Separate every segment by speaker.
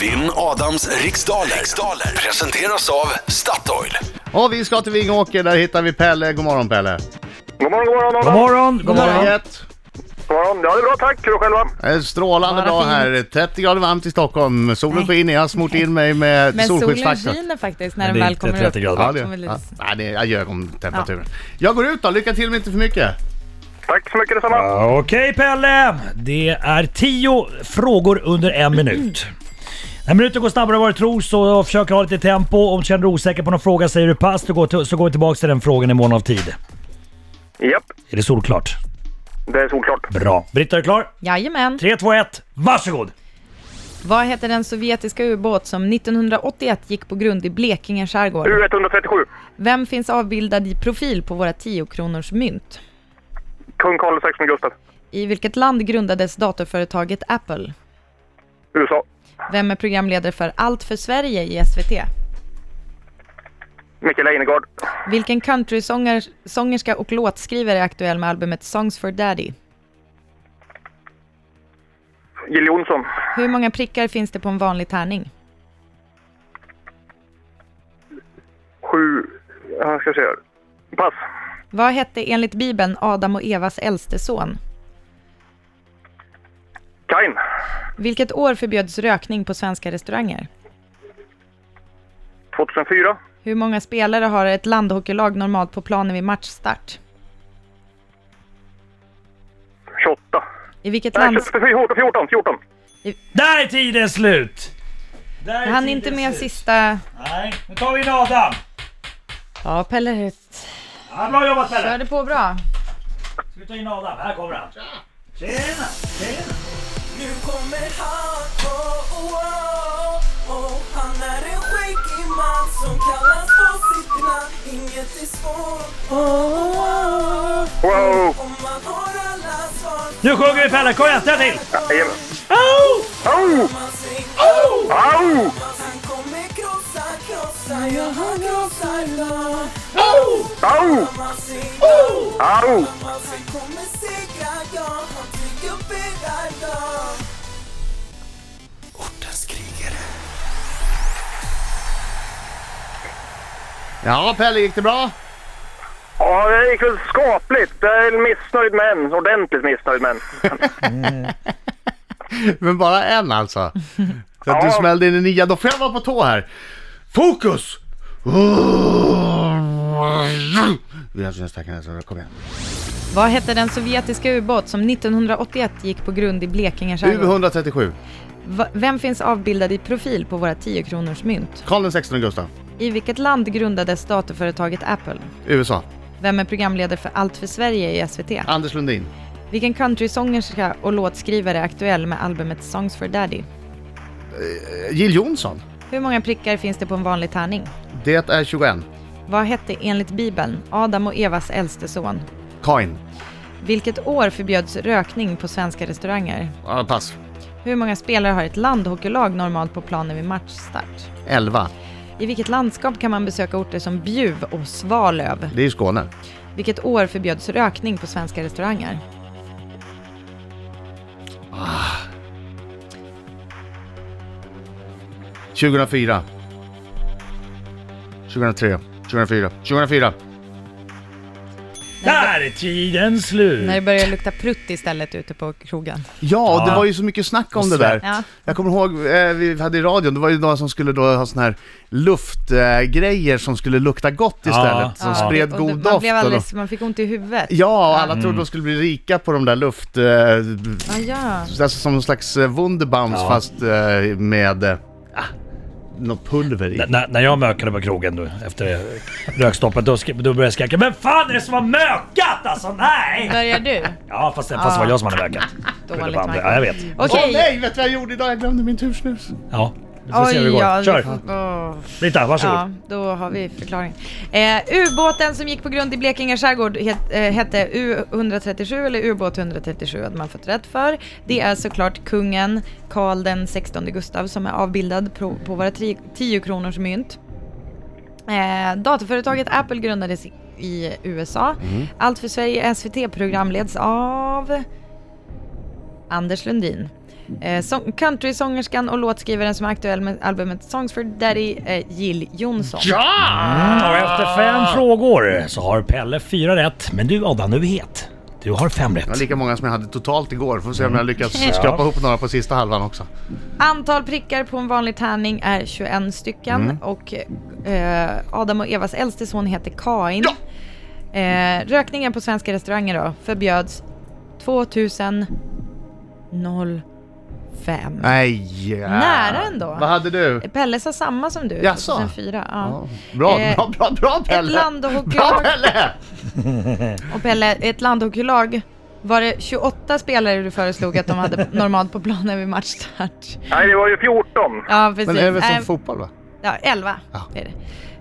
Speaker 1: Vinn Adams riksdaler. riksdaler presenteras av Statoil.
Speaker 2: Ja, vi ska till Vingåker, där hittar vi Pelle. God morgon Pelle.
Speaker 3: God morgon, god morgon, Adam.
Speaker 4: God morgon!
Speaker 2: God morgon Gert.
Speaker 3: God morgon. Ja, det är bra, tack. Hur är det själva?
Speaker 2: Eh, Strålande
Speaker 5: Bara
Speaker 2: bra
Speaker 5: fint.
Speaker 2: här. 30 grader varmt i Stockholm. Solen
Speaker 5: Nej.
Speaker 2: skiner. Jag har smort in mig med
Speaker 5: Men solen
Speaker 2: solskyddsfaktor.
Speaker 5: skiner faktiskt när
Speaker 4: Men det
Speaker 5: den
Speaker 4: är
Speaker 5: väl
Speaker 4: inte
Speaker 5: kommer
Speaker 4: 30
Speaker 5: upp.
Speaker 4: grader.
Speaker 2: Ja, det,
Speaker 5: Som en
Speaker 2: ja,
Speaker 5: lis.
Speaker 2: nej, det, jag ljög om temperaturen. Jag går ut då. Lycka till men inte för mycket.
Speaker 3: Tack så mycket detsamma.
Speaker 4: Okej Pelle! Det är tio frågor under en minut. När minuten går snabbare än vad du tror så försök ha lite tempo. Om du känner dig osäker på någon fråga säger du pass så går, till, så går vi tillbaka till den frågan i mån av tid.
Speaker 3: Japp,
Speaker 4: Är det solklart?
Speaker 3: det är solklart.
Speaker 4: Bra. Britta, är du klar?
Speaker 5: Jajamän.
Speaker 4: 3, 2, 1. Varsågod!
Speaker 5: Vad heter den sovjetiska ubåt som 1981 gick på grund i Blekinge skärgård?
Speaker 3: U137,
Speaker 5: Vem finns avbildad i profil på våra 10-kronors mynt?
Speaker 3: kung Karl XVI Gustaf,
Speaker 5: I vilket land grundades datorföretaget Apple?
Speaker 3: USA.
Speaker 5: Vem är programledare för Allt för Sverige i SVT?
Speaker 3: Micke Leijnegard,
Speaker 5: Vilken countrysångerska och låtskrivare är aktuell med albumet Songs for Daddy?
Speaker 3: Jill Johnson,
Speaker 5: Hur många prickar finns det på en vanlig tärning?
Speaker 3: sju... Jag ska se här. Pass.
Speaker 5: Vad hette enligt Bibeln Adam och Evas äldste son?
Speaker 3: Kain,
Speaker 5: Vilket år förbjöds rökning på svenska restauranger?
Speaker 3: 2004,
Speaker 5: Hur många spelare har ett landhockeylag normalt på planen vid matchstart?
Speaker 3: 28.
Speaker 5: I vilket
Speaker 3: Nej,
Speaker 5: land...
Speaker 3: 24, 14, 14.
Speaker 4: Där är tiden slut! Där är
Speaker 5: Jag hann
Speaker 4: tiden
Speaker 5: inte med
Speaker 4: slut.
Speaker 5: sista...
Speaker 4: Nej, nu tar vi in Adam.
Speaker 5: Ja, Pelle
Speaker 4: Ja, bra jobbat Pelle!
Speaker 5: körde på bra.
Speaker 4: Ska vi ta in Adam? Här kommer han. Tjena! Tjena!
Speaker 6: Nu kommer han, oh, oh, oh, oh. Han är en skäggig man som kallas på sitt namn Inget är svårt, oh, oh, oh.
Speaker 3: Wow!
Speaker 6: Om man har alla svar
Speaker 4: Nu sjunger vi Pelle, kom igen, ställ till!
Speaker 3: Jajamän.
Speaker 4: Oh!
Speaker 3: Au!
Speaker 6: man svänger
Speaker 4: Oh!
Speaker 3: Au!
Speaker 6: Han kommer krossa, krossa, ja han krossar land
Speaker 4: Oh!
Speaker 3: Au!
Speaker 6: Man svänger
Speaker 3: Au!
Speaker 6: man svänger kommer segra, ja han tycker upp era lag
Speaker 1: Ortens krigare.
Speaker 2: Ja, Pelle, gick det bra?
Speaker 3: Ja, det gick väl skapligt. Jag är missnöjd med en. Ordentligt missnöjd med en.
Speaker 2: Men bara en alltså. Så att du
Speaker 3: Ja.
Speaker 2: smällde in i nia. Då får jag vara på tå här. Fokus! Vi har nästa vecka, så kom igen.
Speaker 5: Vad hette den sovjetiska ubåt som 1981 gick på grund i Blekinge skärgård?
Speaker 2: U137.
Speaker 5: Va- Vem finns avbildad i profil på våra 10-kronors mynt?
Speaker 2: Karl XVI Gustaf.
Speaker 5: I vilket land grundades datorföretaget Apple?
Speaker 2: USA.
Speaker 5: Vem är programledare för Allt för Sverige i SVT?
Speaker 2: Anders Lundin.
Speaker 5: Vilken countrysångerska och låtskrivare är aktuell med albumet Songs for Daddy?
Speaker 2: Eh, Jill Johnson.
Speaker 5: Hur många prickar finns det på en vanlig tärning?
Speaker 2: Det är 21.
Speaker 5: Vad hette enligt Bibeln Adam och Evas äldste son?
Speaker 2: Kain.
Speaker 5: Vilket år förbjöds rökning på svenska restauranger?
Speaker 2: Ah, pass.
Speaker 5: Hur många spelare har ett landhockeylag normalt på planen vid matchstart?
Speaker 2: 11.
Speaker 5: I vilket landskap kan man besöka orter som Bjuv och Svalöv?
Speaker 2: Det är ju Skåne.
Speaker 5: Vilket år förbjöds rökning på svenska restauranger?
Speaker 2: Ah. 2004. 2003. 2004. 2004.
Speaker 4: Där är tiden
Speaker 5: När det
Speaker 4: slut!
Speaker 5: började lukta prutt istället ute på krogen.
Speaker 2: Ja, det
Speaker 4: Ja.
Speaker 2: var ju så mycket snack om
Speaker 4: Och
Speaker 2: det där.
Speaker 4: svett.
Speaker 5: Ja.
Speaker 2: Jag kommer ihåg, eh, vi hade i radion, det var ju några som skulle då ha såna här luftgrejer eh, grejer som skulle lukta gott
Speaker 4: Ja.
Speaker 2: istället, som
Speaker 4: Ja.
Speaker 2: spred
Speaker 5: och
Speaker 2: god
Speaker 5: det-
Speaker 2: doft.
Speaker 5: man, blev
Speaker 2: och då-
Speaker 5: alldeles, man fick ont i huvudet.
Speaker 2: Ja, och alla trodde de skulle bli rika på de där luft... Eh, b-
Speaker 5: Ah, ja.
Speaker 2: alltså som någon slags eh, Wunderbaums
Speaker 4: Ja.
Speaker 2: fast eh, med... Eh, ah, något pulver i.
Speaker 4: N- När, när jag mökade på krogen då, efter eh, rökstoppet, då, sk- då började jag skrika Vem fan är det som har mökat alltså? Nej!
Speaker 5: Börjar du?
Speaker 4: Ja fast, fast det var jag som hade mökat. Skyller
Speaker 5: Dåligt
Speaker 4: på andra.
Speaker 5: Marcus.
Speaker 4: Ja jag vet.
Speaker 2: Åh
Speaker 5: Okej.
Speaker 2: nej, vet du vad jag gjorde idag? Jag glömde min tursnus.
Speaker 4: Ja. Vi får se hur det går.
Speaker 5: ja, vi
Speaker 4: Kör!
Speaker 5: får- åh.
Speaker 4: Britta,
Speaker 5: Ja,
Speaker 4: varsågod.
Speaker 5: då har vi förklaringen. Eh, ubåten som gick på grund i Blekinge skärgård het, eh, hette U137 eller ubåt 137 hade man fått rätt för. Det är såklart kungen Karl den 16 Gustav som är avbildad på, på våra 10 kronors mynt. Eh, datorföretaget Apple grundades i- i USA. Allt för Sverige SVT programleds av Anders Lundin. Eh, sång- Countrysångerskan och låtskrivaren som är aktuell med albumet Songs for Daddy, eh, Jill Johnson.
Speaker 4: Mm, och efter fem frågor så har Pelle fyra rätt. Men du Adam, du är het. Du har fem
Speaker 2: Jag har
Speaker 4: rätt.
Speaker 2: lika många som jag hade totalt igår. Får se
Speaker 5: Mm.
Speaker 2: om jag lyckas skrapa ihop några på sista halvan också.
Speaker 5: Antal prickar på en vanlig tärning är 21 stycken
Speaker 2: Mm.
Speaker 5: och eh, Adam och Evas äldste son heter Kain. Eh, rökningen på svenska restauranger då förbjöds 2005.
Speaker 2: Nej! ja.
Speaker 5: Nära ändå.
Speaker 2: Vad hade du?
Speaker 5: Pelle sa samma som du,
Speaker 2: Jaså?
Speaker 5: 2004. Ja.
Speaker 2: Bra,
Speaker 5: Eh,
Speaker 2: bra, bra, bra Pelle!
Speaker 5: Ett
Speaker 2: Bra
Speaker 5: landhockeylag,
Speaker 2: Pelle!
Speaker 5: och Pelle, ett landhockeylag var det 28 spelare du föreslog att de hade normalt på planen vid matchstart?
Speaker 3: Nej, det var ju 14.
Speaker 5: Ja, precis.
Speaker 2: Men är det väl
Speaker 5: Nej,
Speaker 2: som fotboll va?
Speaker 5: Ja, 11 är det.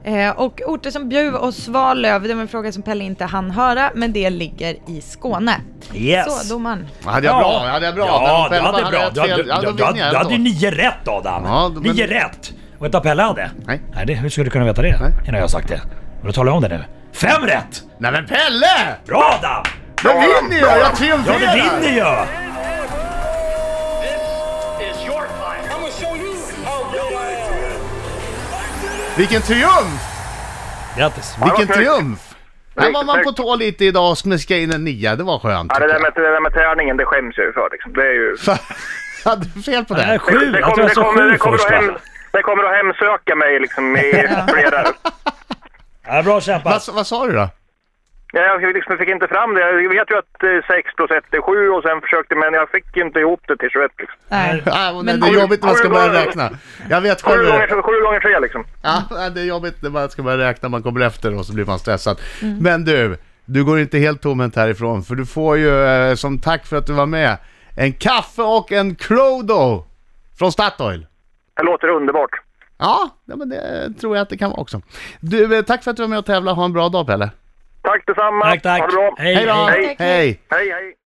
Speaker 5: Eh, och orter som Bjuv och Svalöv, det var en fråga som Pelle inte hann höra, men det ligger i Skåne.
Speaker 4: Yes!
Speaker 5: Så, domaren.
Speaker 2: Hade jag bra? Hade jag bra?
Speaker 4: Ja,
Speaker 2: Men
Speaker 4: du
Speaker 2: Pelle
Speaker 4: hade bra.
Speaker 2: ett
Speaker 4: Du hade,
Speaker 2: fel.
Speaker 4: du,
Speaker 2: Ja, då
Speaker 4: du, du,
Speaker 2: vinner jag
Speaker 4: hade ju
Speaker 2: ändå.
Speaker 4: nio rätt Adam.
Speaker 2: Ja, men-
Speaker 4: Nio rätt! Och vet du vad Pelle hade?
Speaker 2: Nej.
Speaker 4: Nej det, hur skulle du kunna veta det?
Speaker 2: Nej.
Speaker 4: Innan jag har sagt det. Men då talar jag om det nu. Fem rätt!
Speaker 2: Nej men Pelle!
Speaker 4: Bra Adam!
Speaker 2: Då vinner jag! Jag
Speaker 4: Ja,
Speaker 2: triumferar!
Speaker 4: du vinner ju!
Speaker 2: Vilken triumf!
Speaker 4: Grattis!
Speaker 2: Vilken
Speaker 3: det var snyggt.
Speaker 2: triumf! Här var man på
Speaker 3: Snyggt.
Speaker 2: tå lite idag och smiskade in en nia, det var skönt.
Speaker 3: Ja, det,
Speaker 2: tycker
Speaker 3: där
Speaker 2: jag.
Speaker 3: med, det där med träningen, det skäms jag ju för. Liksom. Det är ju...
Speaker 2: Hade du fel på
Speaker 4: Nej,
Speaker 2: det?
Speaker 4: sju!
Speaker 3: det,
Speaker 4: Att
Speaker 3: kommer,
Speaker 4: jag
Speaker 3: det,
Speaker 4: sa
Speaker 3: kommer,
Speaker 4: sju
Speaker 3: det, kommer att
Speaker 4: först
Speaker 3: hem,
Speaker 4: va?
Speaker 3: det kommer att hemsöka mig liksom, i flera...
Speaker 4: Ja, bra kämpat!
Speaker 2: Vad, vad sa du då?
Speaker 3: Ja, Jag liksom fick inte fram det. Jag vet ju att 6 plus 1 är 7 och sen försökte men jag fick ju inte ihop det till 21. Liksom.
Speaker 5: Nej.
Speaker 2: Ah, men
Speaker 5: Men-
Speaker 2: det är jobbigt när man ska
Speaker 3: Har du-
Speaker 2: börja räkna. Jag vet själv
Speaker 3: Sju
Speaker 2: hur det är.
Speaker 3: gånger, sju gånger tre liksom.
Speaker 2: Ja, det är jobbigt när man ska börja räkna, man kommer efter och så blir man stressad. Men du, du går inte helt tomhänt härifrån för du får ju eh, som tack för att du var med en kaffe och en Crodo från Statoil.
Speaker 3: Det låter underbart.
Speaker 2: Ja, ja, men det tror jag att det kan vara också. Du, eh, tack för att du var med och tävlade. Ha en bra dag Pelle.
Speaker 3: Tack detsamma.
Speaker 4: Tack, tack!
Speaker 3: Ha det bra.
Speaker 2: Hej då!
Speaker 5: Hej.
Speaker 2: Hej!
Speaker 3: Hej, hej.